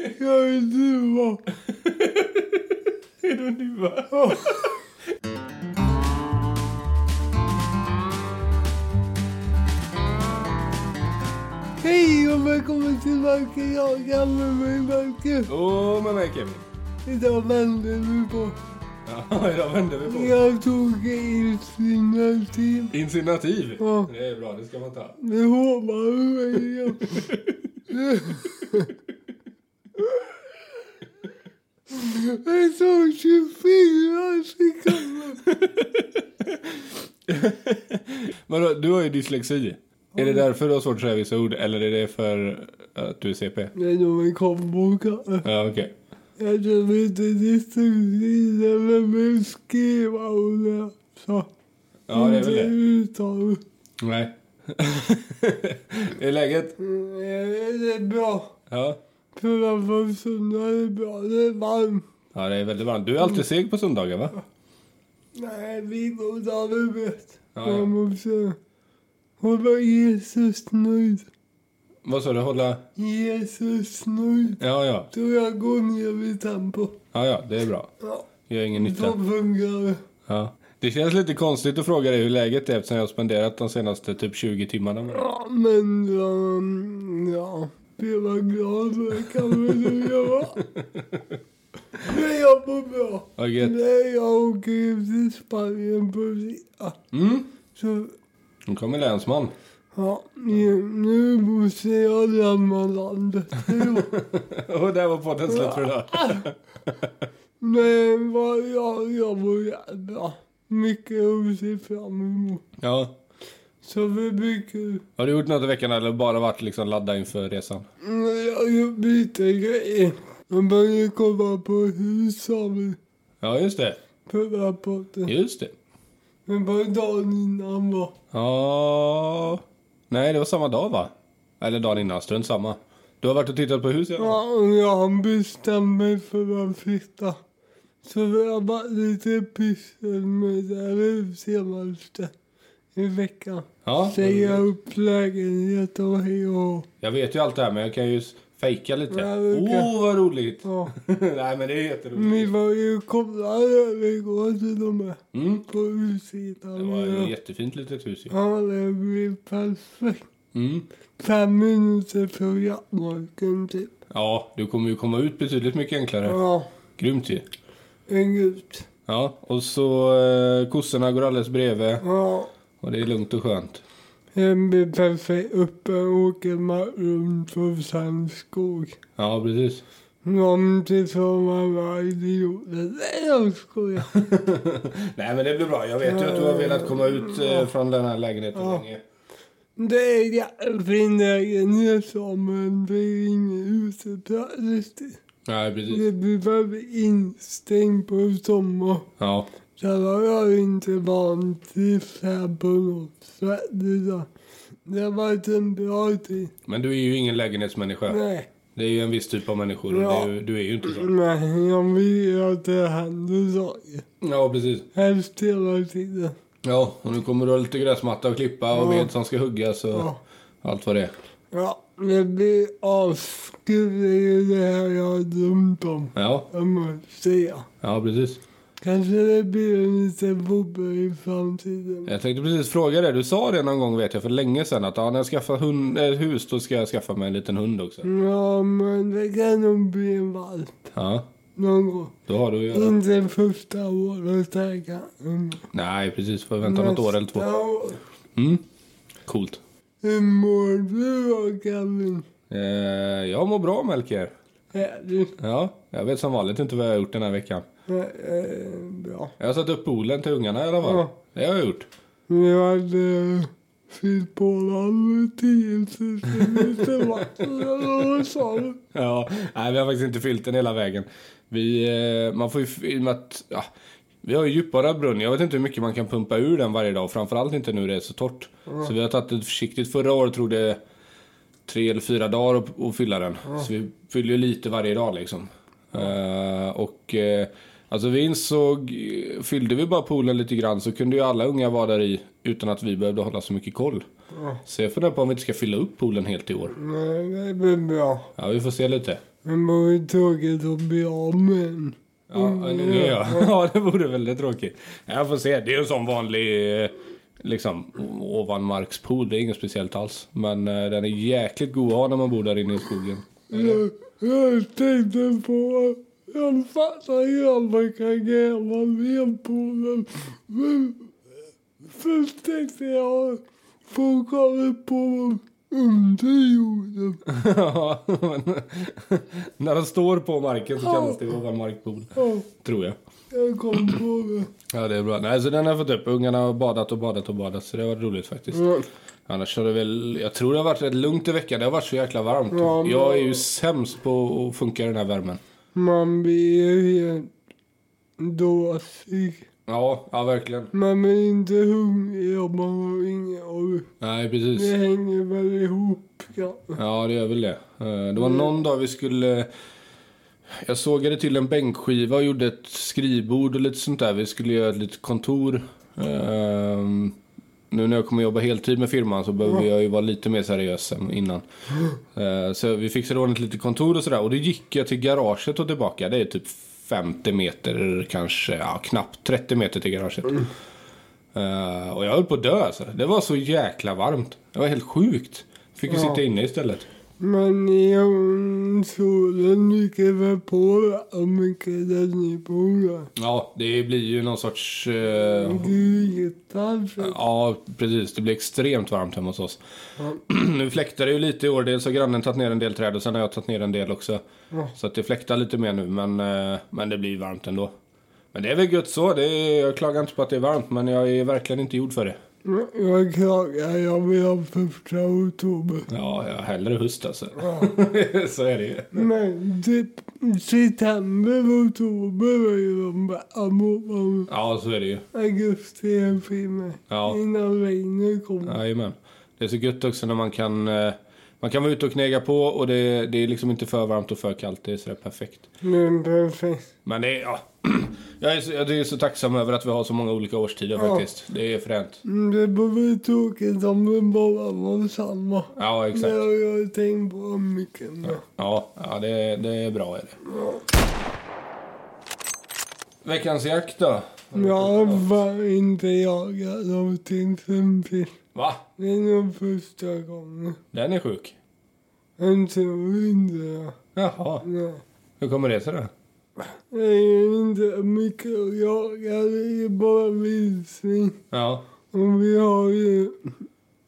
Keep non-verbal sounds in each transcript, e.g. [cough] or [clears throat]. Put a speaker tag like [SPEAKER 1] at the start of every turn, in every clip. [SPEAKER 1] Jag är en duva.
[SPEAKER 2] Är du en duva?
[SPEAKER 1] Hej och välkommen tillbaka. Jag kallar mig Marcus.
[SPEAKER 2] Åh, med mig Kevin.
[SPEAKER 1] Idag vänder vi på.
[SPEAKER 2] Ja, [laughs] idag vänder vi på.
[SPEAKER 1] Jag tog initiativ.
[SPEAKER 2] Insinuativ.
[SPEAKER 1] Ja.
[SPEAKER 2] Det är bra, det ska man ta.
[SPEAKER 1] Nu hoppar du mig igen. Jag tog 24 sekunder.
[SPEAKER 2] Vadå, du har ju dyslexi. Är det därför du har svårt att säga vissa ord eller är det för att du är CP?
[SPEAKER 1] Det är nog en kombo kanske.
[SPEAKER 2] Ja, okej.
[SPEAKER 1] Jag tror inte distinktionen med mig skriva och läsa.
[SPEAKER 2] Ja, det är väl
[SPEAKER 1] Inte
[SPEAKER 2] det.
[SPEAKER 1] Uttal.
[SPEAKER 2] Nej. [laughs] är läget?
[SPEAKER 1] Mm, eh, Det är bra.
[SPEAKER 2] Ja.
[SPEAKER 1] Framför söndag är bra. Det är varmt.
[SPEAKER 2] Ja, det är väldigt varmt. Du är alltid seg på söndagar, va?
[SPEAKER 1] Nej, vi går där vi vet.
[SPEAKER 2] Ja, ja.
[SPEAKER 1] Jag måste hålla Jesus nöjd.
[SPEAKER 2] Vad sa du? Hålla...
[SPEAKER 1] Jesus nöjd.
[SPEAKER 2] Ja, ja.
[SPEAKER 1] Så jag går ner i tempo.
[SPEAKER 2] Ja, ja. Det är bra.
[SPEAKER 1] Ja,
[SPEAKER 2] Gör ingen
[SPEAKER 1] så
[SPEAKER 2] nytta.
[SPEAKER 1] funkar det.
[SPEAKER 2] Ja. Det känns lite konstigt att fråga dig hur läget är eftersom jag har spenderat de senaste typ 20 timmarna med dig.
[SPEAKER 1] Ja, men um, ja. Vi var glada, det kan väl du göra. Men jag mår bra.
[SPEAKER 2] Vad gött.
[SPEAKER 1] Nej, jag åker ju till Spanien på fredag.
[SPEAKER 2] Mm.
[SPEAKER 1] Så
[SPEAKER 2] Nu kommer länsman.
[SPEAKER 1] ja, nu- nu måste jag lämna landet. Jo.
[SPEAKER 2] [laughs] Och där var podden slut för idag.
[SPEAKER 1] Men vad jag, jag mår jävla mycket att se fram emot.
[SPEAKER 2] Ja.
[SPEAKER 1] Så det blir kul.
[SPEAKER 2] Har du gjort något i veckan eller bara varit liksom laddad inför resan?
[SPEAKER 1] Men Jag har gjort lite grejer. Jag började komma på hus sa vi.
[SPEAKER 2] Ja, just det.
[SPEAKER 1] Förra podden.
[SPEAKER 2] Just det.
[SPEAKER 1] Men bara dagen innan var.
[SPEAKER 2] Ja... Nej, det var samma dag va? Eller dagen innan, strunt samma. Du har varit och tittat på hus igen?
[SPEAKER 1] Ja, och jag bestämde mig för att flytta. Så vi har varit lite pyssel med det här senaste i veckan.
[SPEAKER 2] Ja.
[SPEAKER 1] Säga upp lägenhet och hej och hå.
[SPEAKER 2] Jag vet ju allt det här men jag kan ju s- fejka lite.
[SPEAKER 1] Ja,
[SPEAKER 2] Åh,
[SPEAKER 1] det kan-
[SPEAKER 2] oh, vad roligt! [laughs]
[SPEAKER 1] ja.
[SPEAKER 2] Nej, men det är jätteroligt.
[SPEAKER 1] Vi var ju kopplade igår till och med.
[SPEAKER 2] Mm.
[SPEAKER 1] På utsidan.
[SPEAKER 2] Det var ett jättefint litet hus ju.
[SPEAKER 1] Ja, det blev perfekt.
[SPEAKER 2] Mm.
[SPEAKER 1] Fem minuter från jaktmarken typ.
[SPEAKER 2] Ja, du kommer ju komma ut betydligt mycket enklare.
[SPEAKER 1] Ja,
[SPEAKER 2] Grymt ju.
[SPEAKER 1] en gud.
[SPEAKER 2] Ja, och så eh, kossorna går alldeles bredvid
[SPEAKER 1] Ja.
[SPEAKER 2] och det är lugnt och skönt.
[SPEAKER 1] Den blir perfekt uppe åker man runt på sandskog.
[SPEAKER 2] Ja, precis.
[SPEAKER 1] Någonting som alla idioter... Nej, jag skojar.
[SPEAKER 2] Nej men det blir bra. Jag vet ju att du har velat komma ut eh, från den här lägenheten länge.
[SPEAKER 1] Det är jättefin lägenhet så, men det är ingen uteplats.
[SPEAKER 2] Nej precis.
[SPEAKER 1] Det blir bara instängt på sommaren.
[SPEAKER 2] Ja.
[SPEAKER 1] Sen var jag inte van till här på något sätt. utan Det har varit en bra tid.
[SPEAKER 2] Men du är ju ingen lägenhetsmänniska.
[SPEAKER 1] Nej,
[SPEAKER 2] Det är ju en viss typ av människor och
[SPEAKER 1] Ja.
[SPEAKER 2] det är ju, du är ju inte så.
[SPEAKER 1] nej, jag vill ju att det händer saker.
[SPEAKER 2] Ja precis.
[SPEAKER 1] Helst hela tiden.
[SPEAKER 2] Ja och nu kommer du ha lite gräsmatta att klippa och ved som ska huggas och
[SPEAKER 1] Ja.
[SPEAKER 2] allt vad det är.
[SPEAKER 1] Ja, det blir avskrivet i det här jag har drömt om.
[SPEAKER 2] Ja.
[SPEAKER 1] Jag måste säga.
[SPEAKER 2] Ja precis.
[SPEAKER 1] Kanske det blir en liten bubbla i framtiden.
[SPEAKER 2] Jag tänkte precis fråga dig. Du sa det någon gång vet jag för länge sedan att ja, när jag skaffar hund, eh, hus då ska jag skaffa mig en liten hund också.
[SPEAKER 1] Mm. Ja, men det kan nog bli en valp
[SPEAKER 2] Ja.
[SPEAKER 1] någon gång.
[SPEAKER 2] Då har du ju...
[SPEAKER 1] Inte första året här kanske.
[SPEAKER 2] Nej precis. Får vänta något år eller två.
[SPEAKER 1] Nästa år.
[SPEAKER 2] Mm. Coolt.
[SPEAKER 1] Hur mår du då Kevin?
[SPEAKER 2] Eh, jag mår bra Melker.
[SPEAKER 1] Är du
[SPEAKER 2] Ja, jag vet som vanligt inte vad jag har gjort den här veckan.
[SPEAKER 1] eh, bra?
[SPEAKER 2] Jag har satt upp poolen till ungarna i alla fall.
[SPEAKER 1] Ja.
[SPEAKER 2] Det har jag gjort.
[SPEAKER 1] Vi hade fyllt på med 10 000 liter vatten. eller Vad sa du?
[SPEAKER 2] Ja, nej vi har faktiskt inte fyllt den hela vägen. Vi, eh, man får ju, f- i och med att, ja, vi har ju djupare brunn. Jag vet inte hur mycket man kan pumpa ur den varje dag. Framförallt inte nu det är så torrt. Så vi har tagit det försiktigt. Förra året tog det tre eller fyra dagar att, att fylla den. Så vi fyller ju lite varje dag liksom. Eh, och eh, alltså vi insåg, eh, fyllde vi bara poolen lite grann så kunde ju alla unga vara där i utan att vi behövde hålla så mycket koll.
[SPEAKER 1] Ja.
[SPEAKER 2] Så jag funderar på om vi inte ska fylla upp poolen helt i år.
[SPEAKER 1] Nej, det blir bra.
[SPEAKER 2] Ja, vi får se lite.
[SPEAKER 1] Men det var ju tråkigt att bli av med den.
[SPEAKER 2] Ja,
[SPEAKER 1] Mm.
[SPEAKER 2] nu, nu, ja. [laughs] ja, det vore väldigt tråkigt. Jag får se. Det är en sån vanlig eh, liksom o- ovanmarkspool. Det är inget speciellt alls. Men eh, den är jäkligt god att ha när man bor där inne i skogen. [laughs]
[SPEAKER 1] Jag, jag tänkte på... Jag fattar ju att man kan gräva ved på den. Men först tänkte jag... Folk har väl på dem under jorden.
[SPEAKER 2] Ja, men när den står på marken så kallas det ovanmarkspool.
[SPEAKER 1] Ja,
[SPEAKER 2] Tror jag.
[SPEAKER 1] jag kom på det.
[SPEAKER 2] Ja, det är bra. Nej, så den har jag fått upp. Ungarna har badat och badat och badat. Så det har varit roligt faktiskt.
[SPEAKER 1] Mm.
[SPEAKER 2] Annars har det väl... Jag tror det har varit rätt lugnt i veckan. Det har varit så jäkla varmt.
[SPEAKER 1] Ja, men-
[SPEAKER 2] Jag är ju sämst på att funka i den här värmen.
[SPEAKER 1] Man blir ju helt dåsig.
[SPEAKER 2] Ja, ja verkligen.
[SPEAKER 1] Man blir inte hungrig och man har ingen ork.
[SPEAKER 2] Nej, precis.
[SPEAKER 1] Det hänger väl ihop kanske.
[SPEAKER 2] Ja, det gör väl det. Eh, Det var någon dag vi skulle... Jag sågade till en bänkskiva och gjorde ett skrivbord och lite sånt där. Vi skulle göra ett litet kontor. Ehm, Nu när jag kommer jobba heltid med firman så behöver jag ju vara lite mer seriös än innan. Eh, Så vi fixade ordentligt lite kontor och sådär. Och då gick jag till garaget och tillbaka. Det är typ 50 meter kanske, ja knappt 30 meter till garaget. Eh, och jag höll på att dö alltså. Det var så jäkla varmt. Det var helt sjukt. Fick ju
[SPEAKER 1] Ja.
[SPEAKER 2] sitta inne istället.
[SPEAKER 1] Men jag, solen ligger väl på hur mycket där ni bor. va?
[SPEAKER 2] Ja, det blir ju någon sorts... eh,
[SPEAKER 1] Grytan. så-
[SPEAKER 2] ja, precis. Det blir extremt varmt hemma hos oss.
[SPEAKER 1] Ja.
[SPEAKER 2] [clears throat] nu fläktar det ju lite i år. Dels har grannen tagit ner en del träd och sen har jag tagit ner en del också.
[SPEAKER 1] Ja.
[SPEAKER 2] Så att det fläktar lite mer nu, men, eh, men det blir varmt ändå. Men det är väl gött så. Det är, jag klagar inte på att det är varmt, men jag är verkligen inte gjord för det.
[SPEAKER 1] Jag klagar, jag vill ha första oktober.
[SPEAKER 2] Ja, jag hellre höst alltså. [laughs]
[SPEAKER 1] Ja.
[SPEAKER 2] så är det ju.
[SPEAKER 1] Men typ september och oktober är ju de bästa månaderna.
[SPEAKER 2] Ja, så är det ju.
[SPEAKER 1] augusti är en film
[SPEAKER 2] Ja.
[SPEAKER 1] innan regnet kommer.
[SPEAKER 2] Jajamän. Det är så gött också när man kan, eh, man kan vara ute och knega på och det, det är liksom inte för varmt och för kallt. Det är sådär perfekt.
[SPEAKER 1] Men perfekt.
[SPEAKER 2] Men det är, ja. [clears throat] jag, är så, jag är så tacksam över att vi har så många olika årstider
[SPEAKER 1] Ja.
[SPEAKER 2] faktiskt. Det är fränt.
[SPEAKER 1] Mm, Det vore tråkigt om det bara var samma.
[SPEAKER 2] Ja,
[SPEAKER 1] Det
[SPEAKER 2] exakt.
[SPEAKER 1] har jag tänkt på mycket nu.
[SPEAKER 2] Ja, ja det, det är bra är det. Veckans jakt då?
[SPEAKER 1] Jag har inte jagat någonting sen sist.
[SPEAKER 2] Va?
[SPEAKER 1] Det är nog första gången.
[SPEAKER 2] Den är sjuk.
[SPEAKER 1] Jag tror inte det.
[SPEAKER 2] Jaha.
[SPEAKER 1] Nej.
[SPEAKER 2] Hur kommer det sig då?
[SPEAKER 1] Det är inte mycket att jaga, det är bara vildsvin.
[SPEAKER 2] Ja.
[SPEAKER 1] Och vi har ju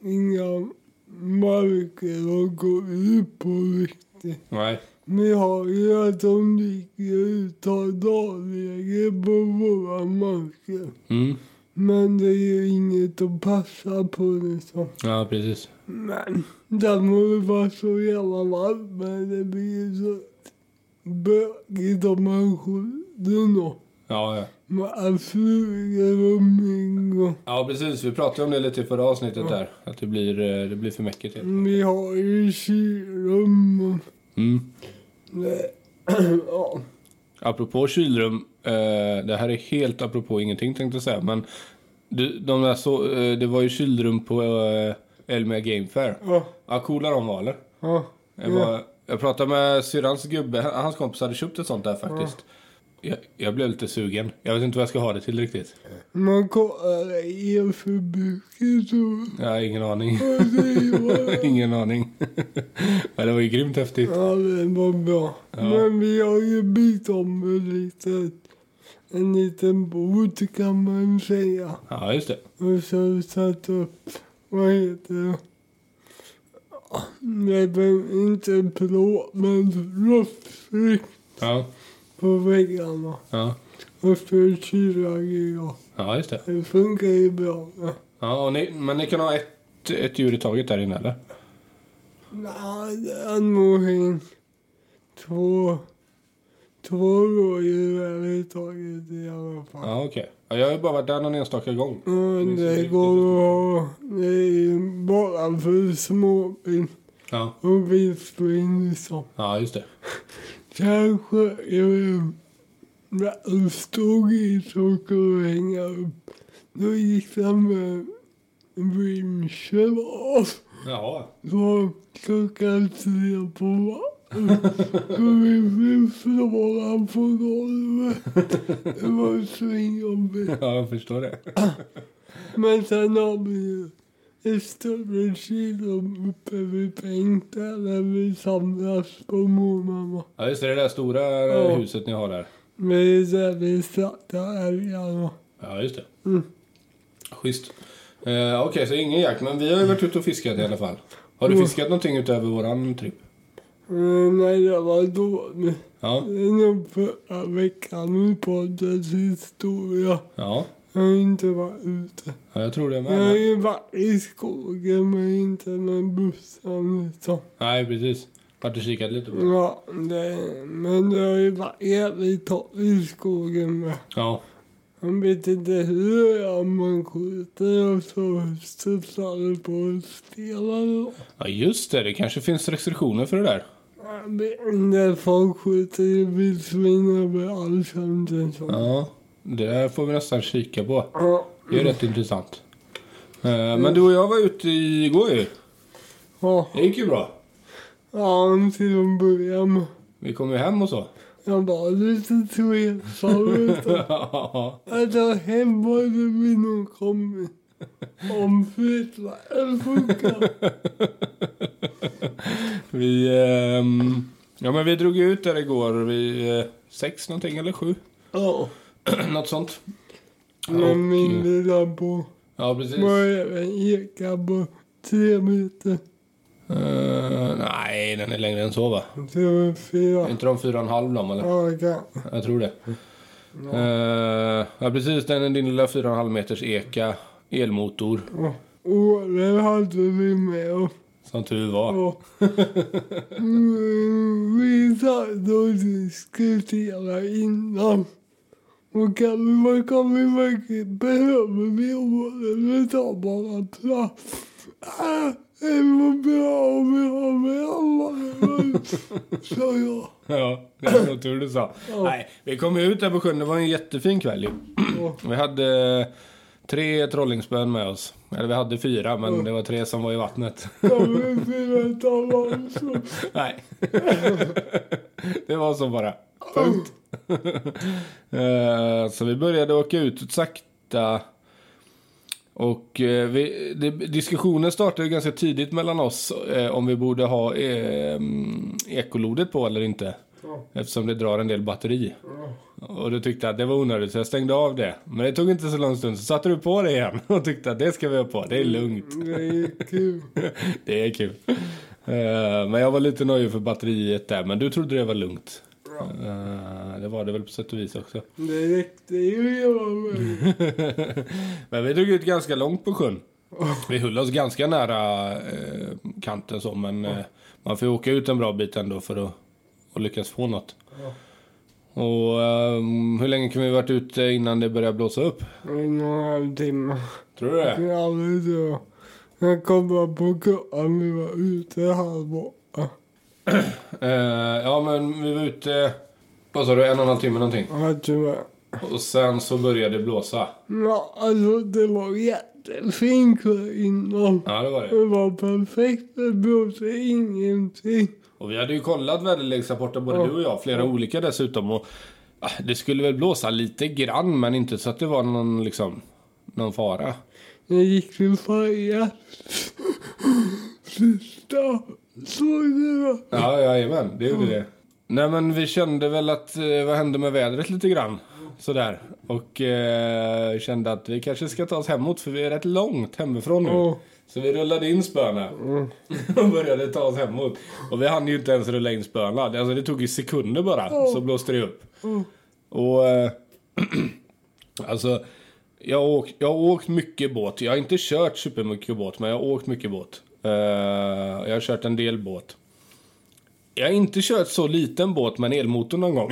[SPEAKER 1] inga marker att gå ut på riktigt.
[SPEAKER 2] Nej.
[SPEAKER 1] Vi har ju att de ligger utav dagläge på våra marker.
[SPEAKER 2] Mm.
[SPEAKER 1] Men det är ju inget att passa på liksom.
[SPEAKER 2] Ja, precis.
[SPEAKER 1] Men det må ju vara så jävla varmt men det blir ju så bökigt om man skjuter något.
[SPEAKER 2] Ja, ja.
[SPEAKER 1] Man flyger och mygg och...
[SPEAKER 2] Ja, precis. Vi pratade om det lite i förra avsnittet där. Att det blir, eh, det blir för mäckigt. helt.
[SPEAKER 1] Vi har ju kylrum och...
[SPEAKER 2] Mm.
[SPEAKER 1] Nej. ja.
[SPEAKER 2] Apropå kylrum, eh, det här är helt apropå ingenting tänkte jag säga, men du, de där så, eh, det var ju kylrum på eh, Elmia Game Fair.
[SPEAKER 1] Ja.
[SPEAKER 2] Ja, coola de var eller?
[SPEAKER 1] Ja.
[SPEAKER 2] Jag, var, jag pratade med syrrans gubbe, han- hans kompis hade köpt ett sånt där faktiskt. Jag, jag blev lite sugen. Jag vet inte vad jag ska ha det till riktigt.
[SPEAKER 1] Man kollar elförbrukningen så...
[SPEAKER 2] Jag har ingen aning. [laughs]
[SPEAKER 1] Och det var...
[SPEAKER 2] ingen aning. [laughs] men det var ju grymt häftigt.
[SPEAKER 1] Ja, det var bra.
[SPEAKER 2] Ja.
[SPEAKER 1] Men vi har ju bytt om en liten... En liten bod kan man säga.
[SPEAKER 2] Ja, just det.
[SPEAKER 1] Och så satt upp... Vad heter det? Det blev inte plåt men rostfritt
[SPEAKER 2] Ja,
[SPEAKER 1] på väggarna.
[SPEAKER 2] ja,
[SPEAKER 1] Och så kylar jag.
[SPEAKER 2] ja just det.
[SPEAKER 1] Det funkar ju bra.
[SPEAKER 2] Ja, och ni, men ni kan ha ett, ett djur i taget där inne eller?
[SPEAKER 1] Nej, det är nog en... Två... Två rådjur överhuvudtaget i alla fall.
[SPEAKER 2] Ja, okej. Ja, Jag har ju bara varit där någon enstaka gång.
[SPEAKER 1] Men det går att ha... Det är ju bara för småvilt
[SPEAKER 2] Ja.
[SPEAKER 1] och vildsvin liksom.
[SPEAKER 2] Ja, just det.
[SPEAKER 1] Kanske är det... När de stod i så skulle jag hänga upp. Då gick de med rimsel av.
[SPEAKER 2] Jaha.
[SPEAKER 1] Så klockan tre på För min fru slår han på golvet. Det var svinjobbigt.
[SPEAKER 2] Ja, jag förstår det.
[SPEAKER 1] Men sen har vi ju ett större kilo uppe vid Bengta där vi samlas på mormamma.
[SPEAKER 2] Ja, just det. Det där stora eh,
[SPEAKER 1] Ja.
[SPEAKER 2] huset ni har där.
[SPEAKER 1] Men det är där vi startar älgarna.
[SPEAKER 2] Ja, just det.
[SPEAKER 1] Mm.
[SPEAKER 2] Schysst. Eh, Okej, så ingen jakt, men vi har ju varit ute och fiskat i alla fall. Har du
[SPEAKER 1] Mm.
[SPEAKER 2] fiskat någonting utöver våran tripp?
[SPEAKER 1] Men nej, det var dåligt.
[SPEAKER 2] Ja.
[SPEAKER 1] Det är nog förra veckan vi poddade historia.
[SPEAKER 2] Ja.
[SPEAKER 1] Jag har inte varit ute.
[SPEAKER 2] ja, jag tror det
[SPEAKER 1] Jag har
[SPEAKER 2] med.
[SPEAKER 1] ju varit i skogen men inte med bussen liksom.
[SPEAKER 2] Nej, precis. Vart du kikat lite på det.
[SPEAKER 1] Ja, det, men det har ju varit jävligt torrt i skogen med.
[SPEAKER 2] Ja.
[SPEAKER 1] Jag vet inte hur jag man skjuter och så studsar det på stenar.
[SPEAKER 2] ja, just det. Det kanske finns restriktioner för det där.
[SPEAKER 1] Jag vet inte, folk skjuter ju vildsvin överallt känns det som.
[SPEAKER 2] Ja. Det där får vi nästan kika på.
[SPEAKER 1] liksom. Ja.
[SPEAKER 2] Det är rätt intressant. Eh, Men du och jag var ute igår ju.
[SPEAKER 1] Ja,
[SPEAKER 2] Det gick ju bra.
[SPEAKER 1] ja till att börja med.
[SPEAKER 2] Vi kom ju hem och så. [laughs]
[SPEAKER 1] Jag var lite tveksam utav
[SPEAKER 2] Ja,
[SPEAKER 1] att jag hämmade med någon kompis. Om flyttlassen funkar.
[SPEAKER 2] vi, ehm, ja, men vi drog ju ut där igår vid eh, sex någonting eller sju. [clears throat]
[SPEAKER 1] Ja.
[SPEAKER 2] Något sånt. Och, eh,
[SPEAKER 1] Men min lilla bror
[SPEAKER 2] Ja, precis.
[SPEAKER 1] var även eka på tre meter.
[SPEAKER 2] Eh, nej, den är längre än så va?
[SPEAKER 1] Det var
[SPEAKER 2] Är
[SPEAKER 1] fyra.
[SPEAKER 2] inte de fyra och en halv de eller?
[SPEAKER 1] Ja, ja.
[SPEAKER 2] Jag tror det. Eh, ja, precis. Den är din lilla fyra och en halv meters eka, elmotor,
[SPEAKER 1] Ja. Åre hade vi med oss.
[SPEAKER 2] som tur var.
[SPEAKER 1] Ja. Mm, Vi satt och diskuterade innan. Och kan vi, vad kan vi verkligen behöver vi åre? Vi tar bara plats. Äh, det var bra om vi har med alla. Så ja.
[SPEAKER 2] [laughs] Ja, det är så tur du sa.
[SPEAKER 1] Ja.
[SPEAKER 2] Nej, vi kom ju ut där på sjön. Det var en jättefin kväll ju.
[SPEAKER 1] Ja.
[SPEAKER 2] Vi hade eh, tre trollingspön med oss. Eller vi hade fyra, men det var tre som var i vattnet. [laughs]
[SPEAKER 1] Kan vi fyra tala om så?
[SPEAKER 2] Nej. det var så bara. Punkt. Eh, så vi började åka ut sakta. Och eh, vi, det, diskussionen startade ju ganska tidigt mellan oss eh, om vi borde ha eh, mm, ekolodet på eller inte.
[SPEAKER 1] Ja.
[SPEAKER 2] Eftersom det drar en del batteri. Och du tyckte att det var onödigt så jag stängde av det. Men det tog inte så lång stund så satte du på det igen [laughs] och tyckte att det ska vi ha på, det är lugnt.
[SPEAKER 1] Det är kul.
[SPEAKER 2] [laughs] Det är kul. Eh, men jag var lite nöjd för batteriet där, men du trodde det var lugnt.
[SPEAKER 1] Ja.
[SPEAKER 2] Eh, det var det väl på sätt och vis också. [laughs]
[SPEAKER 1] Det räckte ju jag var med.
[SPEAKER 2] men vi drog ut ganska långt på sjön. Vi höll oss ganska nära eh, kanten så, men eh, man får ju åka ut en bra bit ändå för att, att lyckas få något.
[SPEAKER 1] Ja.
[SPEAKER 2] Och ehm, hur länge kan vi varit ute innan det började blåsa upp?
[SPEAKER 1] En och en halv timme.
[SPEAKER 2] Tror du det?
[SPEAKER 1] Det är aldrig så. Jag kom bara på kuppen vi var ute här borta.
[SPEAKER 2] Eh, ja, men vi var ute, vad sa du, en och en halv timme någonting.
[SPEAKER 1] Ja, tyvärr.
[SPEAKER 2] Och sen så började det blåsa.
[SPEAKER 1] Ja, alltså det var jättefint där innan.
[SPEAKER 2] Ja, det var det.
[SPEAKER 1] Det var perfekt. Det blåste ingenting.
[SPEAKER 2] Och vi hade ju kollat väderleksrapporter både
[SPEAKER 1] Ja.
[SPEAKER 2] du och jag, flera olika dessutom. Och, ah, det skulle väl blåsa lite grann men inte så att det var någon, liksom, någon fara.
[SPEAKER 1] Jag gick till färjan. Sista. Såg du det?
[SPEAKER 2] Ja, jajamän, det gjorde det. Nej men vi kände väl att, eh, vad hände med vädret lite grann? Sådär. Och eh, kände att vi kanske ska ta oss hemåt för vi är rätt långt hemifrån nu.
[SPEAKER 1] Ja.
[SPEAKER 2] Så vi rullade in spöna [laughs] och började ta oss hemåt. Och vi hann ju inte ens rulla in spöna. Alltså det tog ju sekunder bara, så blåste det upp.
[SPEAKER 1] Ja.
[SPEAKER 2] Och... eh, [clears throat] alltså, jag har, åkt, jag har åkt mycket båt. Jag har inte kört supermycket båt, men jag har åkt mycket båt. Eh, jag har kört en del båt. Jag har inte kört så liten båt med en elmotor någon gång.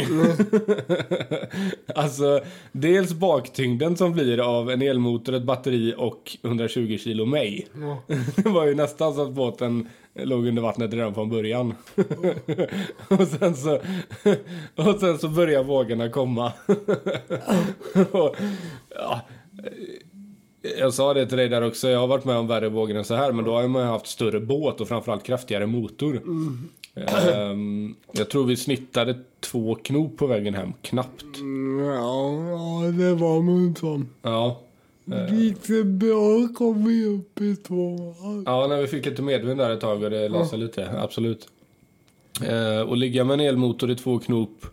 [SPEAKER 2] [laughs] alltså, dels baktyngden som blir av en elmotor, ett batteri och 120 kilo mig.
[SPEAKER 1] Ja.
[SPEAKER 2] [laughs] Det var ju nästan så att båten låg under vattnet redan från början. [laughs] och, sen så, [laughs] och sen så börjar vågorna komma. [laughs] och, ja, jag sa det till dig där också, jag har varit med om värre vågor än så här men då har man ju haft större båt och framförallt kraftigare motor. Ehm, jag tror vi snittade två knop på vägen hem, knappt.
[SPEAKER 1] Mm, Ja, ja det var munsan.
[SPEAKER 2] Ja,
[SPEAKER 1] Lite bra kom vi upp i tvåan.
[SPEAKER 2] ja när vi fick lite medvind där ett tag och det la sig lite, absolut. Eh, och ligga med en elmotor i två knop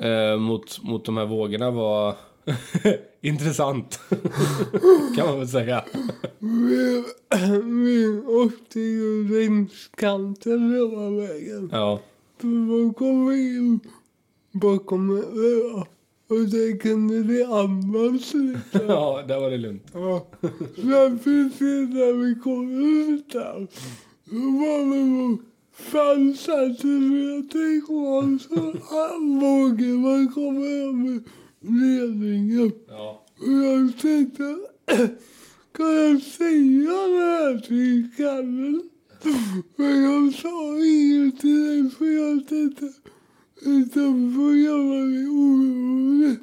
[SPEAKER 2] eh, mot, mot de här vågorna var [laughs] intressant. kan man väl säga.
[SPEAKER 1] Vi, vi åkte ju längs kanten hela vägen.
[SPEAKER 2] Ja,
[SPEAKER 1] För man kom in bakom en ö och där kunde det andas lite.
[SPEAKER 2] ja där var det lugnt.
[SPEAKER 1] Ja. Men precis när vi kom ut där då var det nog fem centimeter kvar så här vågade man komma över ledningen.
[SPEAKER 2] Ja,
[SPEAKER 1] Och jag [coughs] tänkte, kan jag säga det här till Kalle? Men jag sa inget till dig för jag tänkte, utan får göra mig orolig.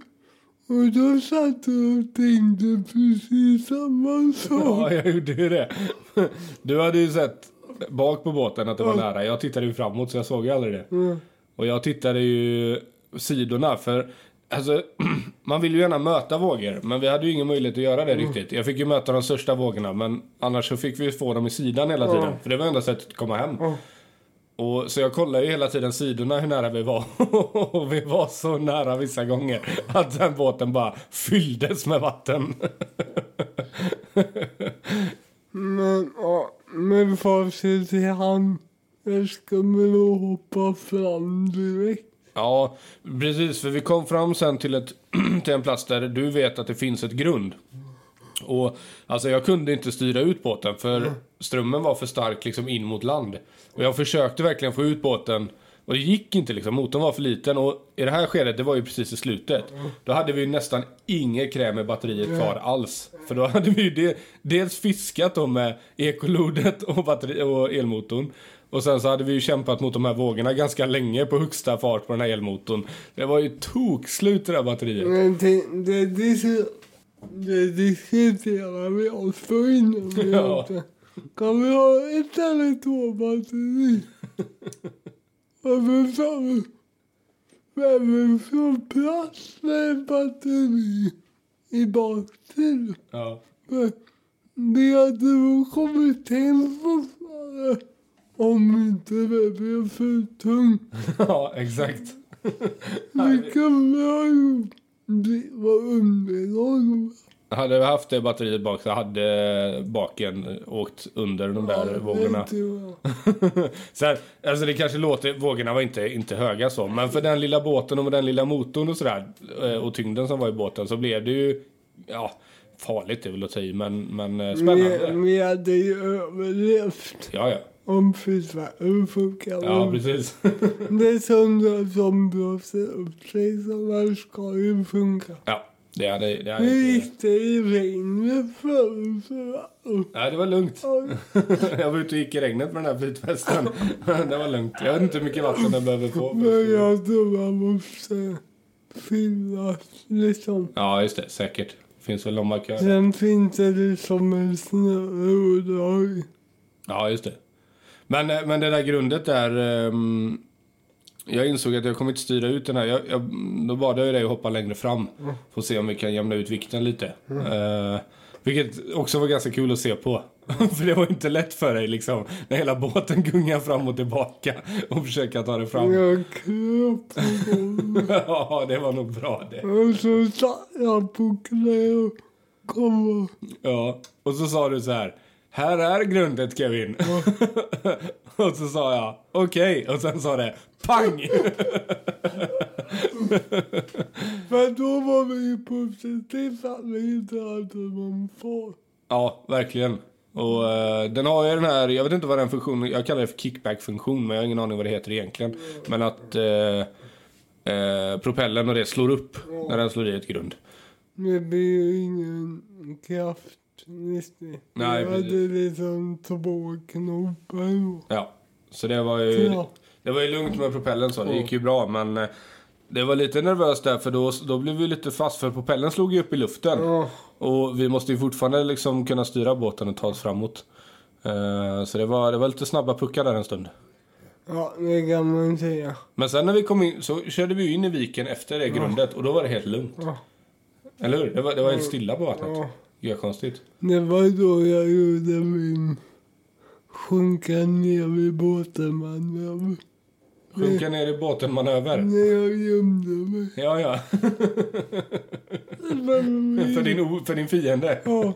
[SPEAKER 1] Och då satt jag och tänkte precis samma
[SPEAKER 2] ja
[SPEAKER 1] sak.
[SPEAKER 2] jag gjorde ju det. Du hade ju sett bak på båten att det var nära. Jag tittade ju framåt så jag såg ju aldrig det.
[SPEAKER 1] Mm.
[SPEAKER 2] Och jag tittade ju sidorna för alltså, [clears throat] man vill ju gärna möta vågor men vi hade ju ingen möjlighet att göra det riktigt. Jag fick ju möta de största vågorna men annars så fick vi ju få dem i sidan hela tiden för det var enda sättet att komma hem.
[SPEAKER 1] Ja.
[SPEAKER 2] Och, så jag kollade ju hela tiden sidorna hur nära vi var [laughs] och vi var så nära vissa gånger att den båten bara fylldes med vatten. [laughs]
[SPEAKER 1] Men ja, med facit i hand, jag skulle nog hoppa fram direkt.
[SPEAKER 2] Ja, precis. För vi kom fram sen till, ett, [clears throat] till en plats där du vet att det finns ett grund. Och alltså jag kunde inte styra ut båten för strömmen var för stark liksom in mot land. Och jag försökte verkligen få ut båten och det gick inte liksom. Motorn var för liten och i det här skedet, det var ju precis i slutet. Då hade vi ju nästan inget kräm i batteriet kvar alls. För då hade vi ju de, dels fiskat då med ekolodet och, batteri, och elmotorn. Och sen så hade vi ju kämpat mot de här vågorna ganska länge på högsta fart på den här elmotorn. Det var ju tokslut i det här batteriet.
[SPEAKER 1] Men det, det, det, det diskuterar vi också innan vi
[SPEAKER 2] Ja.
[SPEAKER 1] åkte. Kan vi ha ett eller två batterier? Varför sa vi? Vem får plats med ett batteri i baksätet?
[SPEAKER 2] Ja. [laughs]
[SPEAKER 1] Men Det hade nog kommit hem fortfarande om inte det blev för tungt.
[SPEAKER 2] ja, exakt.
[SPEAKER 1] Det kan vi ha gjort. Det var underlag.
[SPEAKER 2] Hade vi haft det batteriet bak så hade baken åkt under de där vågorna. Sen, alltså det kanske låter, vågorna var inte, inte höga så, men för den lilla båten och med den lilla motorn och sådär eh, och tyngden som var i båten så blev det ju, ja, farligt är väl att ta i, men, men eh,
[SPEAKER 1] Vi,
[SPEAKER 2] spännande.
[SPEAKER 1] vi hade ju överlevt
[SPEAKER 2] Ja, ja.
[SPEAKER 1] om frisören funkar.
[SPEAKER 2] Ja, precis. [laughs]
[SPEAKER 1] det är sånt där som blåser upp sig så man ska ju funka.
[SPEAKER 2] Ja, det hade, det hade
[SPEAKER 1] Nu
[SPEAKER 2] inte...
[SPEAKER 1] gick det i regnet förut. så va?
[SPEAKER 2] Nej, det var lugnt. [laughs]
[SPEAKER 1] Oj,
[SPEAKER 2] Jag var ute och gick i regnet med den här flytvästen. [laughs] Det var lugnt. Jag vet inte hur mycket vatten den behöver få.
[SPEAKER 1] Men jag tror man måste fylla liksom.
[SPEAKER 2] Ja, just det. Säkert. Finns väl någon markör.
[SPEAKER 1] Sen finns det liksom en snöodrag.
[SPEAKER 2] Ja, just det. Men, eh, men det där grundet där... ehm, jag insåg att jag kommer inte styra ut den här. Jag, jag, då bad jag ju dig att hoppa längre fram. För att se om vi kan jämna ut vikten lite. Eh, vilket också var ganska kul att se på. [laughs] för det var inte lätt för dig liksom. När hela båten gungar fram och tillbaka. Och försöka ta dig fram.
[SPEAKER 1] Jag kröp på golvet.
[SPEAKER 2] [laughs] ja, det var nog bra det.
[SPEAKER 1] Och så satt jag på knä och kom och...
[SPEAKER 2] Ja, och så sa du så här. Här är grundet Kevin. [laughs] och så sa jag okej och sen sa det pang.
[SPEAKER 1] Men då var vi ju positiva att vi inte hade någon fart.
[SPEAKER 2] ja, verkligen. Och eh, den har ju den här, jag vet inte vad den funktionen, jag kallar det för kickback-funktion men jag har ingen aning vad det heter egentligen. Men att eh, eh, propellen och det slår upp när den slår i ett grund.
[SPEAKER 1] Det blev ju ingen kraft. Just det.
[SPEAKER 2] Nej,
[SPEAKER 1] jag
[SPEAKER 2] precis.
[SPEAKER 1] hade liksom två knopar.
[SPEAKER 2] Ja, så det var ju...
[SPEAKER 1] Ja.
[SPEAKER 2] Det var ju lugnt med propellen så, det gick ju bra men... eh, Det var lite nervöst där för då, då blev vi lite fast för propellen slog ju upp i luften.
[SPEAKER 1] Ja.
[SPEAKER 2] Och vi måste ju fortfarande liksom kunna styra båten och ta oss framåt. Eh, Så det var, det var lite snabba puckar där en stund.
[SPEAKER 1] Ja, det kan man ju säga.
[SPEAKER 2] Men sen när vi kom in så körde vi ju in i viken efter det grundet och då var det helt lugnt.
[SPEAKER 1] Ja.
[SPEAKER 2] Eller hur? Det var, det var helt stilla på vattnet.
[SPEAKER 1] Ja.
[SPEAKER 2] Ja, konstigt.
[SPEAKER 1] Det var då jag gjorde min sjunka ner i båten man.
[SPEAKER 2] Sjunka ner i båten manöver.
[SPEAKER 1] När jag gömde mig.
[SPEAKER 2] Ja, ja. [laughs] För din, o- för din fiende.
[SPEAKER 1] Ja,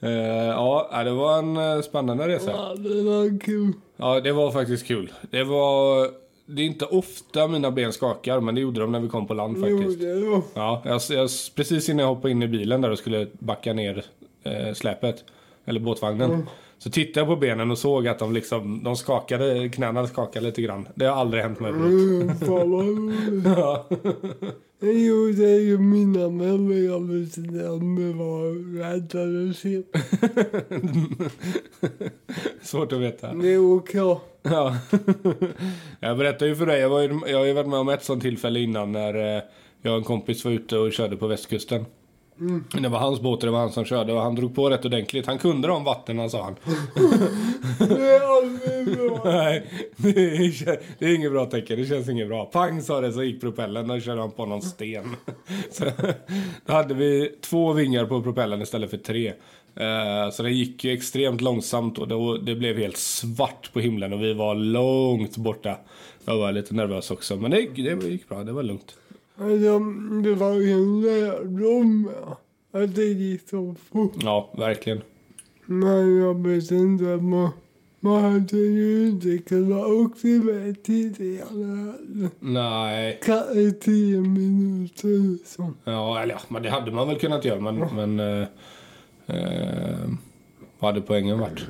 [SPEAKER 2] Eh, ja, ja, det var en eh, spännande resa. [laughs]
[SPEAKER 1] ja, det var kul.
[SPEAKER 2] Ja, det var faktiskt kul. Det var... Det är inte ofta mina ben skakar, men det gjorde de när vi kom på land
[SPEAKER 1] Jo,
[SPEAKER 2] faktiskt.
[SPEAKER 1] det var.
[SPEAKER 2] Ja, jag, jag, precis innan jag hoppade in i bilen där och skulle backa ner eh, släpet, eller båtvagnen, så tittade jag på benen och såg att de liksom, de skakade, knäna skakade lite grann. Det har aldrig hänt mig förut.
[SPEAKER 1] Mm, Fan vad roligt.
[SPEAKER 2] [laughs] Ja.
[SPEAKER 1] Jag gjorde ju mina med men jag visste inte om det var rätt eller fel.
[SPEAKER 2] Svårt att veta.
[SPEAKER 1] Det är oklart.
[SPEAKER 2] Ja. [laughs] Jag berättade ju för dig, jag, var ju, jag har ju varit med om ett sånt tillfälle innan när eh, jag och en kompis var ute och körde på västkusten. Men Det var hans båt och det var han som körde och han drog på rätt ordentligt. Han kunde om vatten sa han.
[SPEAKER 1] Det är aldrig bra.
[SPEAKER 2] Nej, det är, det är inget bra tecken. Det känns inget bra. Pang sa det så gick propellen och körde han på någon sten. [laughs] Så, då hade vi två vingar på propellen istället för tre. Eh, Så det gick ju extremt långsamt och då, det blev helt svart på himlen och vi var långt borta. Jag var lite nervös också men det, det gick bra, det var lugnt.
[SPEAKER 1] Men de- Alltså, det var ju en lärdom ja. att det gick så fort.
[SPEAKER 2] Ja, verkligen.
[SPEAKER 1] Men jag vet inte, man, man hade ju inte kunnat åka iväg tidigare.
[SPEAKER 2] Nej,
[SPEAKER 1] Kanske eh, tio minuter liksom.
[SPEAKER 2] ja, eller ja, men det hade man väl kunnat göra men, men eh, eh, vad hade poängen varit?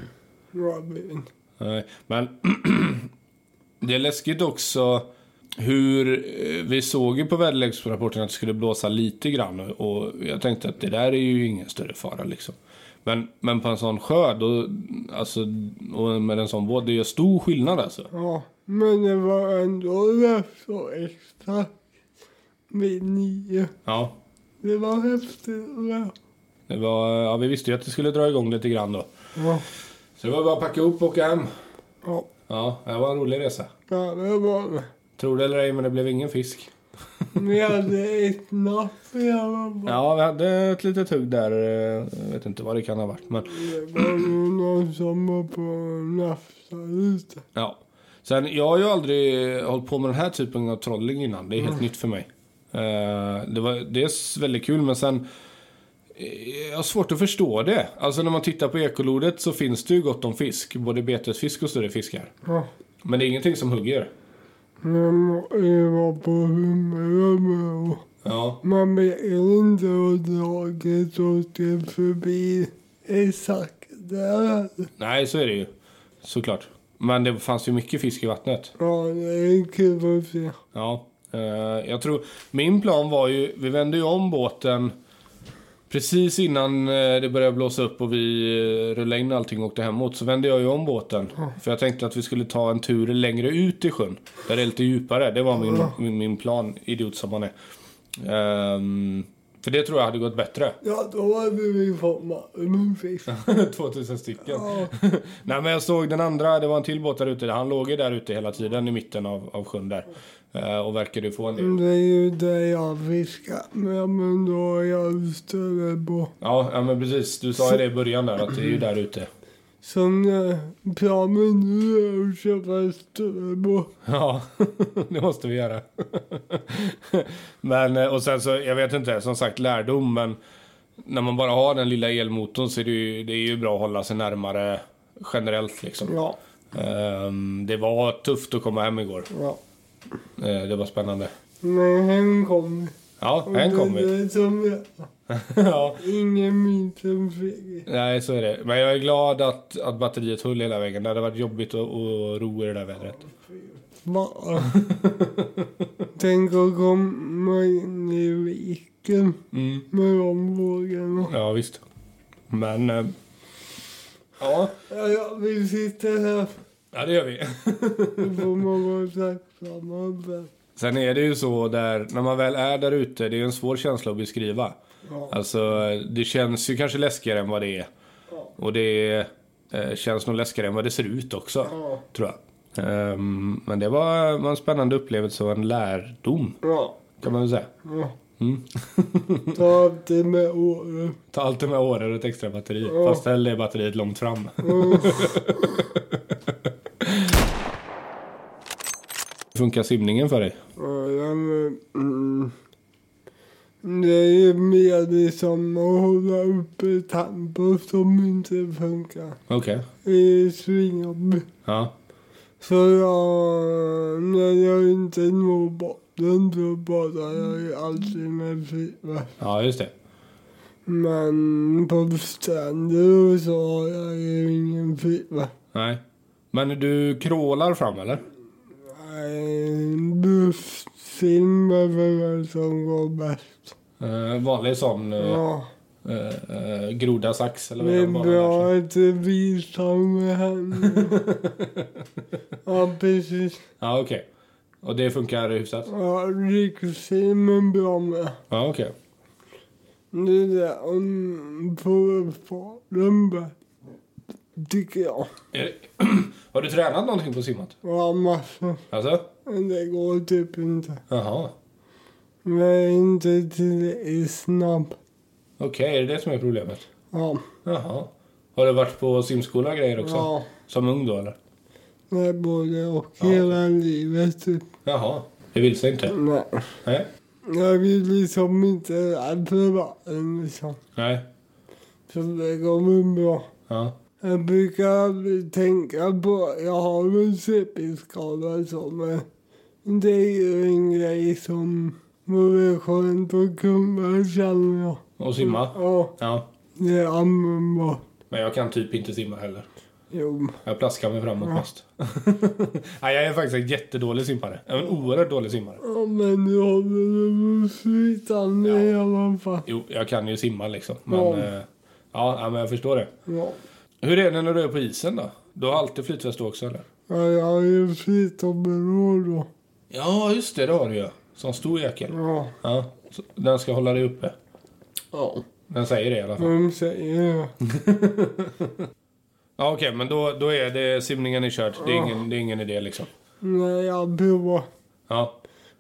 [SPEAKER 1] Robin.
[SPEAKER 2] Nej, men [clears throat] det är läskigt också hur eh, vi såg ju på väderleksrapporten att det skulle blåsa lite grann och och jag tänkte att det där är ju ingen större fara liksom. Men, men på en sån sjö då, alltså, och med en sån båt, det gör stor skillnad alltså.
[SPEAKER 1] Ja, men det var ändå rätt så extra vid nio.
[SPEAKER 2] Ja,
[SPEAKER 1] Det var häftigt. va?
[SPEAKER 2] det var, ja, vi visste ju att det skulle dra igång lite grann då.
[SPEAKER 1] Ja.
[SPEAKER 2] Så det var bara att packa ihop och åka hem.
[SPEAKER 1] Ja,
[SPEAKER 2] Ja, det var en rolig resa.
[SPEAKER 1] ja det var det.
[SPEAKER 2] Tror det eller ej, men det blev ingen fisk.
[SPEAKER 1] Vi hade ett napp i alla fall.
[SPEAKER 2] Ja, vi hade ett litet hugg där. eh, Jag vet inte vad det kan ha varit, men
[SPEAKER 1] Det var ju någon som var på och nafsade lite.
[SPEAKER 2] Ja. Sen, jag har ju aldrig hållit på med den här typen av trolling innan. Det är helt nytt för mig. Eh, det var dels väldigt kul, men sen... eh, Jag har svårt att förstå det. Alltså när man tittar på ekolodet så finns det ju gott om fisk. Både betesfisk och större fiskar.
[SPEAKER 1] Ja.
[SPEAKER 2] Men det är ingenting som hugger.
[SPEAKER 1] Men jag var på humör med och
[SPEAKER 2] Ja.
[SPEAKER 1] man vet inte hur draget åkte förbi exakt där.
[SPEAKER 2] Nej, så är det ju. Såklart. Men det fanns ju mycket fisk i vattnet.
[SPEAKER 1] Ja, det är kul att se.
[SPEAKER 2] Ja, eh, jag tror... Min plan var ju... Vi vände ju om båten precis innan eh, det började blåsa upp och vi eh, rullade in allting och åkte hemåt. Så vände jag ju om båten. För jag tänkte att vi skulle ta en tur längre ut i sjön. Där det är lite djupare. Det var min, min, min plan, idiot som man är. Ehm, för det tror jag hade gått bättre. [laughs]
[SPEAKER 1] Ja, då hade vi fått massor med fisk.
[SPEAKER 2] 2000 stycken.
[SPEAKER 1] Ja,
[SPEAKER 2] Nej men jag såg den andra, det var en till båt där ute. Han låg ju där ute hela tiden i mitten av, av sjön där. Eh, och verkade ju få en del.
[SPEAKER 1] det är ju det jag fiskar med, men då är jag större på.
[SPEAKER 2] Ja, ja men precis. Du sa ju det i början där att det är ju där ute.
[SPEAKER 1] Som eh, planen nu är att köpa större på.
[SPEAKER 2] [clears throat] Ja, [laughs] det måste vi göra. [laughs] Men, eh, och sen så, jag vet inte, som sagt lärdom, men när man bara har den lilla elmotorn så är det ju, det är ju bra att hålla sig närmare generellt liksom.
[SPEAKER 1] Ja,
[SPEAKER 2] Ehm, det var tufft att komma hem igår.
[SPEAKER 1] ja.
[SPEAKER 2] Eh, det var spännande.
[SPEAKER 1] Men hem kom vi.
[SPEAKER 2] Ja,
[SPEAKER 1] Och
[SPEAKER 2] hem
[SPEAKER 1] det
[SPEAKER 2] kom
[SPEAKER 1] är
[SPEAKER 2] vi.
[SPEAKER 1] det som jag-
[SPEAKER 2] [laughs] ja.
[SPEAKER 1] Ingen minns en fisk.
[SPEAKER 2] Nej, så är det. Men jag är glad att, att batteriet höll hela vägen. Det hade varit jobbigt att, att ro i det där vädret.
[SPEAKER 1] [laughs] Bara. Tänk att komma in i viken
[SPEAKER 2] Mm.
[SPEAKER 1] med de vågorna.
[SPEAKER 2] Ja, visst. Men... eh, Ja,
[SPEAKER 1] Ja, ja, vi sitter här.
[SPEAKER 2] ja det gör vi. [laughs]
[SPEAKER 1] Då får man vara tacksamma för.
[SPEAKER 2] Sen är det ju så där, när man väl är där ute, det är en svår känsla att beskriva.
[SPEAKER 1] Ja.
[SPEAKER 2] Alltså, det känns ju kanske läskigare än vad det är.
[SPEAKER 1] Ja.
[SPEAKER 2] Och det är, eh, känns nog läskigare än vad det ser ut också.
[SPEAKER 1] Ja.
[SPEAKER 2] Tror jag. Ehm, men det var, var en spännande upplevelse och en lärdom.
[SPEAKER 1] Ja.
[SPEAKER 2] Kan man väl säga.
[SPEAKER 1] ja.
[SPEAKER 2] Mm.
[SPEAKER 1] [laughs] Ta allt det med året.
[SPEAKER 2] Ta allt det med årar och ett extra batteri.
[SPEAKER 1] Ja.
[SPEAKER 2] Fast ställ det batteriet långt fram. Hur [laughs] funkar simningen för dig?
[SPEAKER 1] Ja, ja, men, mm. Det är ju mer liksom att hålla uppe tempo som inte funkar.
[SPEAKER 2] Okej.
[SPEAKER 1] Det är svinjobbigt.
[SPEAKER 2] Ja.
[SPEAKER 1] Så jag, när jag inte når botten så badar jag ju alltid med flytväst.
[SPEAKER 2] ja, just det.
[SPEAKER 1] Men på stränder och så har jag ju ingen flytväst.
[SPEAKER 2] Nej. Men du crawlar fram eller?
[SPEAKER 1] Nej, Busssim är väl det som går bäst.
[SPEAKER 2] Eh, vanlig sån eh,
[SPEAKER 1] Ja,
[SPEAKER 2] eh, eh, groda sax eller vad
[SPEAKER 1] det är
[SPEAKER 2] de bara lär sig.
[SPEAKER 1] bra att det visar med
[SPEAKER 2] [laughs]
[SPEAKER 1] henne. Ja, precis.
[SPEAKER 2] Ja, okej. Och det funkar hyfsat?
[SPEAKER 1] Ja, rikssim är bra med.
[SPEAKER 2] Ja, okej.
[SPEAKER 1] Det där om provfarten bäst, tycker jag.
[SPEAKER 2] Är det- [clears throat] Har du tränat någonting på simmat?
[SPEAKER 1] Ja, massor.
[SPEAKER 2] Alltså?
[SPEAKER 1] Men det går typ inte.
[SPEAKER 2] Jaha.
[SPEAKER 1] Jag är inte tillräckligt snabb.
[SPEAKER 2] Okej, är det det som är problemet?
[SPEAKER 1] Ja.
[SPEAKER 2] Jaha. Har du varit på simskola och grejer också?
[SPEAKER 1] Ja.
[SPEAKER 2] Som ung då eller?
[SPEAKER 1] Det är både och.
[SPEAKER 2] Ja.
[SPEAKER 1] Hela livet typ.
[SPEAKER 2] Jaha. Det typ. vill sig inte?
[SPEAKER 1] Nej.
[SPEAKER 2] Nej.
[SPEAKER 1] Jag vill liksom inte rädd för vatten liksom.
[SPEAKER 2] Nej.
[SPEAKER 1] Så det kommer bra.
[SPEAKER 2] Ja.
[SPEAKER 1] Jag brukar aldrig tänka på jag har en CP-skada så men det är ju en grej som vore skönt att kunna känner jag.
[SPEAKER 2] Och simma?
[SPEAKER 1] Ja,
[SPEAKER 2] Mm. Ja.
[SPEAKER 1] det är användbart.
[SPEAKER 2] Men jag kan typ inte simma heller.
[SPEAKER 1] Jo.
[SPEAKER 2] Jag plaskar mig framåt
[SPEAKER 1] Ja.
[SPEAKER 2] mest. [laughs] Nej, jag är faktiskt en jättedålig simmare. Jag är en oerhört dålig simmare.
[SPEAKER 1] Ja, men du håller dig flytande
[SPEAKER 2] Ja.
[SPEAKER 1] i alla fall.
[SPEAKER 2] Jo, jag kan ju simma liksom. Men,
[SPEAKER 1] Ja.
[SPEAKER 2] eh, ja. ja, men jag förstår det.
[SPEAKER 1] Ja.
[SPEAKER 2] Hur är det när du är på isen då? Du har alltid flytväst då också eller?
[SPEAKER 1] Ja, jag har ju flytområde då.
[SPEAKER 2] Ja, just det. Det har du ju. Sån stor jäkel.
[SPEAKER 1] Ja.
[SPEAKER 2] Ja. så Den ska hålla dig uppe.
[SPEAKER 1] Ja.
[SPEAKER 2] Den säger det i alla fall.
[SPEAKER 1] De säger det.
[SPEAKER 2] Ja, okej, men då, då är det simningen är kört. Det är ingen, det är ingen idé liksom.
[SPEAKER 1] när jag provar.
[SPEAKER 2] Ja,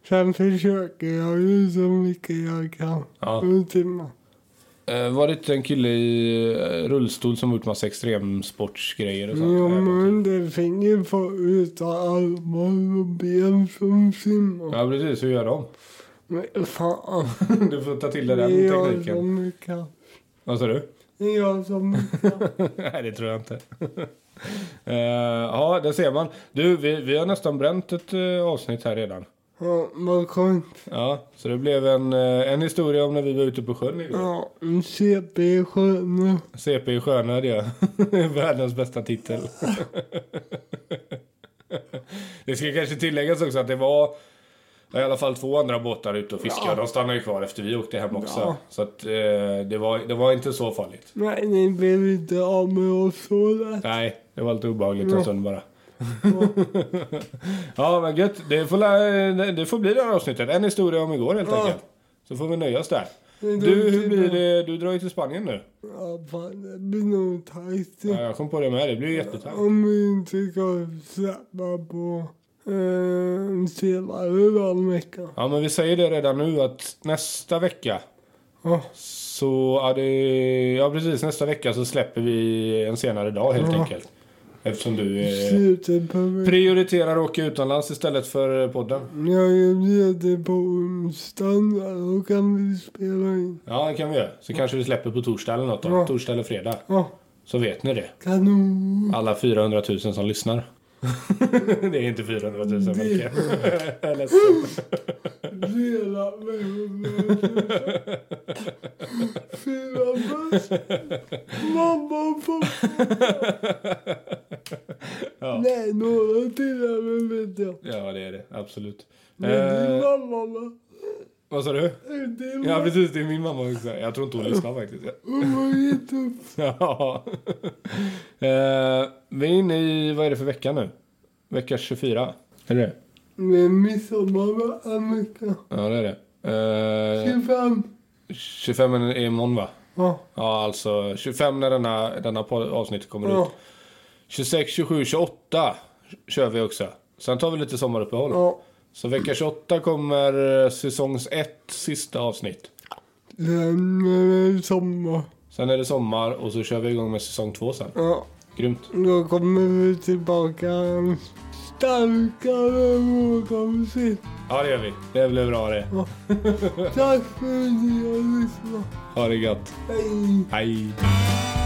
[SPEAKER 1] Sen försöker jag ju så mycket jag kan.
[SPEAKER 2] ja.
[SPEAKER 1] En timme.
[SPEAKER 2] Eh, var det inte en kille i eh, rullstol som gjort massa extremsportsgrejer och sånt?
[SPEAKER 1] Jo,
[SPEAKER 2] Nej,
[SPEAKER 1] men det finns ju folk utan armar och ben som simmar.
[SPEAKER 2] Ja, precis. Hur gör de? [laughs]
[SPEAKER 1] Men fan,
[SPEAKER 2] Du får ta till
[SPEAKER 1] det
[SPEAKER 2] dig den
[SPEAKER 1] är jag
[SPEAKER 2] tekniken.
[SPEAKER 1] som kan.
[SPEAKER 2] Vad sa du? [laughs]
[SPEAKER 1] Det är jag som kan.
[SPEAKER 2] Nej, det tror jag inte. [laughs] Eh, ja, det ser man. Du, vi, vi har nästan bränt ett eh, avsnitt här redan.
[SPEAKER 1] Ja, vad skönt.
[SPEAKER 2] Ja, så det blev en, eh, en historia om när vi var ute på sjön igår.
[SPEAKER 1] Ja, en CP är skön nu.
[SPEAKER 2] CP i sjönöd, ja. [laughs] Världens bästa titel. [laughs] det ska kanske tilläggas också att det var i alla fall två andra båtar ute och fiskade.
[SPEAKER 1] Ja.
[SPEAKER 2] De stannade ju kvar efter vi åkte hem också.
[SPEAKER 1] Ja.
[SPEAKER 2] Så att, eh, det, var, det var inte så farligt.
[SPEAKER 1] Nej, ni blev inte av med oss så lätt.
[SPEAKER 2] Nej, det var lite obehagligt en
[SPEAKER 1] Ja.
[SPEAKER 2] stund bara. [laughs] ja, men gött. Det får, lä- det får bli det här avsnittet. En historia om igår helt
[SPEAKER 1] Ja.
[SPEAKER 2] enkelt. Så får vi nöja oss där.
[SPEAKER 1] Det är
[SPEAKER 2] Du,
[SPEAKER 1] dumt.
[SPEAKER 2] hur blir det? Du drar ju till Spanien nu.
[SPEAKER 1] Ja, fan, det blir nog tajt.
[SPEAKER 2] Ja, jag kom på det med. Det blir ju jättetajt.
[SPEAKER 1] Om vi inte ska släppa på eh, senare den veckan.
[SPEAKER 2] Ja, men vi säger det redan nu att nästa vecka
[SPEAKER 1] Ja,
[SPEAKER 2] så är det... Ja, precis. Nästa vecka så släpper vi en senare dag helt
[SPEAKER 1] Ja.
[SPEAKER 2] enkelt. Eftersom du eh,
[SPEAKER 1] slutet på veckan.
[SPEAKER 2] prioriterar att åka utomlands istället för eh, podden.
[SPEAKER 1] Jag är ledig på onsdagen där, då kan vi spela in.
[SPEAKER 2] Ja, det kan vi göra. Så kanske vi släpper på torsdag eller något då.
[SPEAKER 1] Ja.
[SPEAKER 2] Torsdag eller fredag.
[SPEAKER 1] Ja,
[SPEAKER 2] Så vet ni det.
[SPEAKER 1] kanon.
[SPEAKER 2] Alla 400 000 som lyssnar. [laughs] det är inte 400 000 men okej. [laughs] Jag är ledsen.
[SPEAKER 1] Dela med hundra Fyra buss. Mamma och pappa.
[SPEAKER 2] [laughs] Ja.
[SPEAKER 1] Nej, några till även vet jag.
[SPEAKER 2] Ja, det är det. Absolut.
[SPEAKER 1] Men din
[SPEAKER 2] Eh,
[SPEAKER 1] mamma va?
[SPEAKER 2] vad sa du?
[SPEAKER 1] Din
[SPEAKER 2] Ja,
[SPEAKER 1] mamma.
[SPEAKER 2] precis. Det är min mamma också. Jag tror inte hon lyssnar faktiskt.
[SPEAKER 1] Hon var jättefull.
[SPEAKER 2] [laughs] Ja. Eh, vi är inne i, vad är det för vecka nu? Vecka 24? Är det det?
[SPEAKER 1] Men midsommar var en vecka.
[SPEAKER 2] Ja, det är det. Eh,
[SPEAKER 1] 25.
[SPEAKER 2] 25 är imorgon va?
[SPEAKER 1] Ja.
[SPEAKER 2] Ja, alltså 25 när denna, denna po- avsnitt kommer
[SPEAKER 1] Ja.
[SPEAKER 2] ut. 26, 27, 28 kör vi också. Sen tar vi lite sommaruppehåll.
[SPEAKER 1] Ja,
[SPEAKER 2] Så vecka 28 kommer eh, säsongs 1 sista avsnitt.
[SPEAKER 1] den är sommar.
[SPEAKER 2] Sen är det sommar och så kör vi igång med säsong 2 sen.
[SPEAKER 1] Ja,
[SPEAKER 2] Grymt.
[SPEAKER 1] då kommer vi tillbaka starkare än någonsin.
[SPEAKER 2] Ja, det gör vi. Det blir bra det.
[SPEAKER 1] Tack för att ni har lyssnat.
[SPEAKER 2] Ha det gött.
[SPEAKER 1] Hej!
[SPEAKER 2] Hej.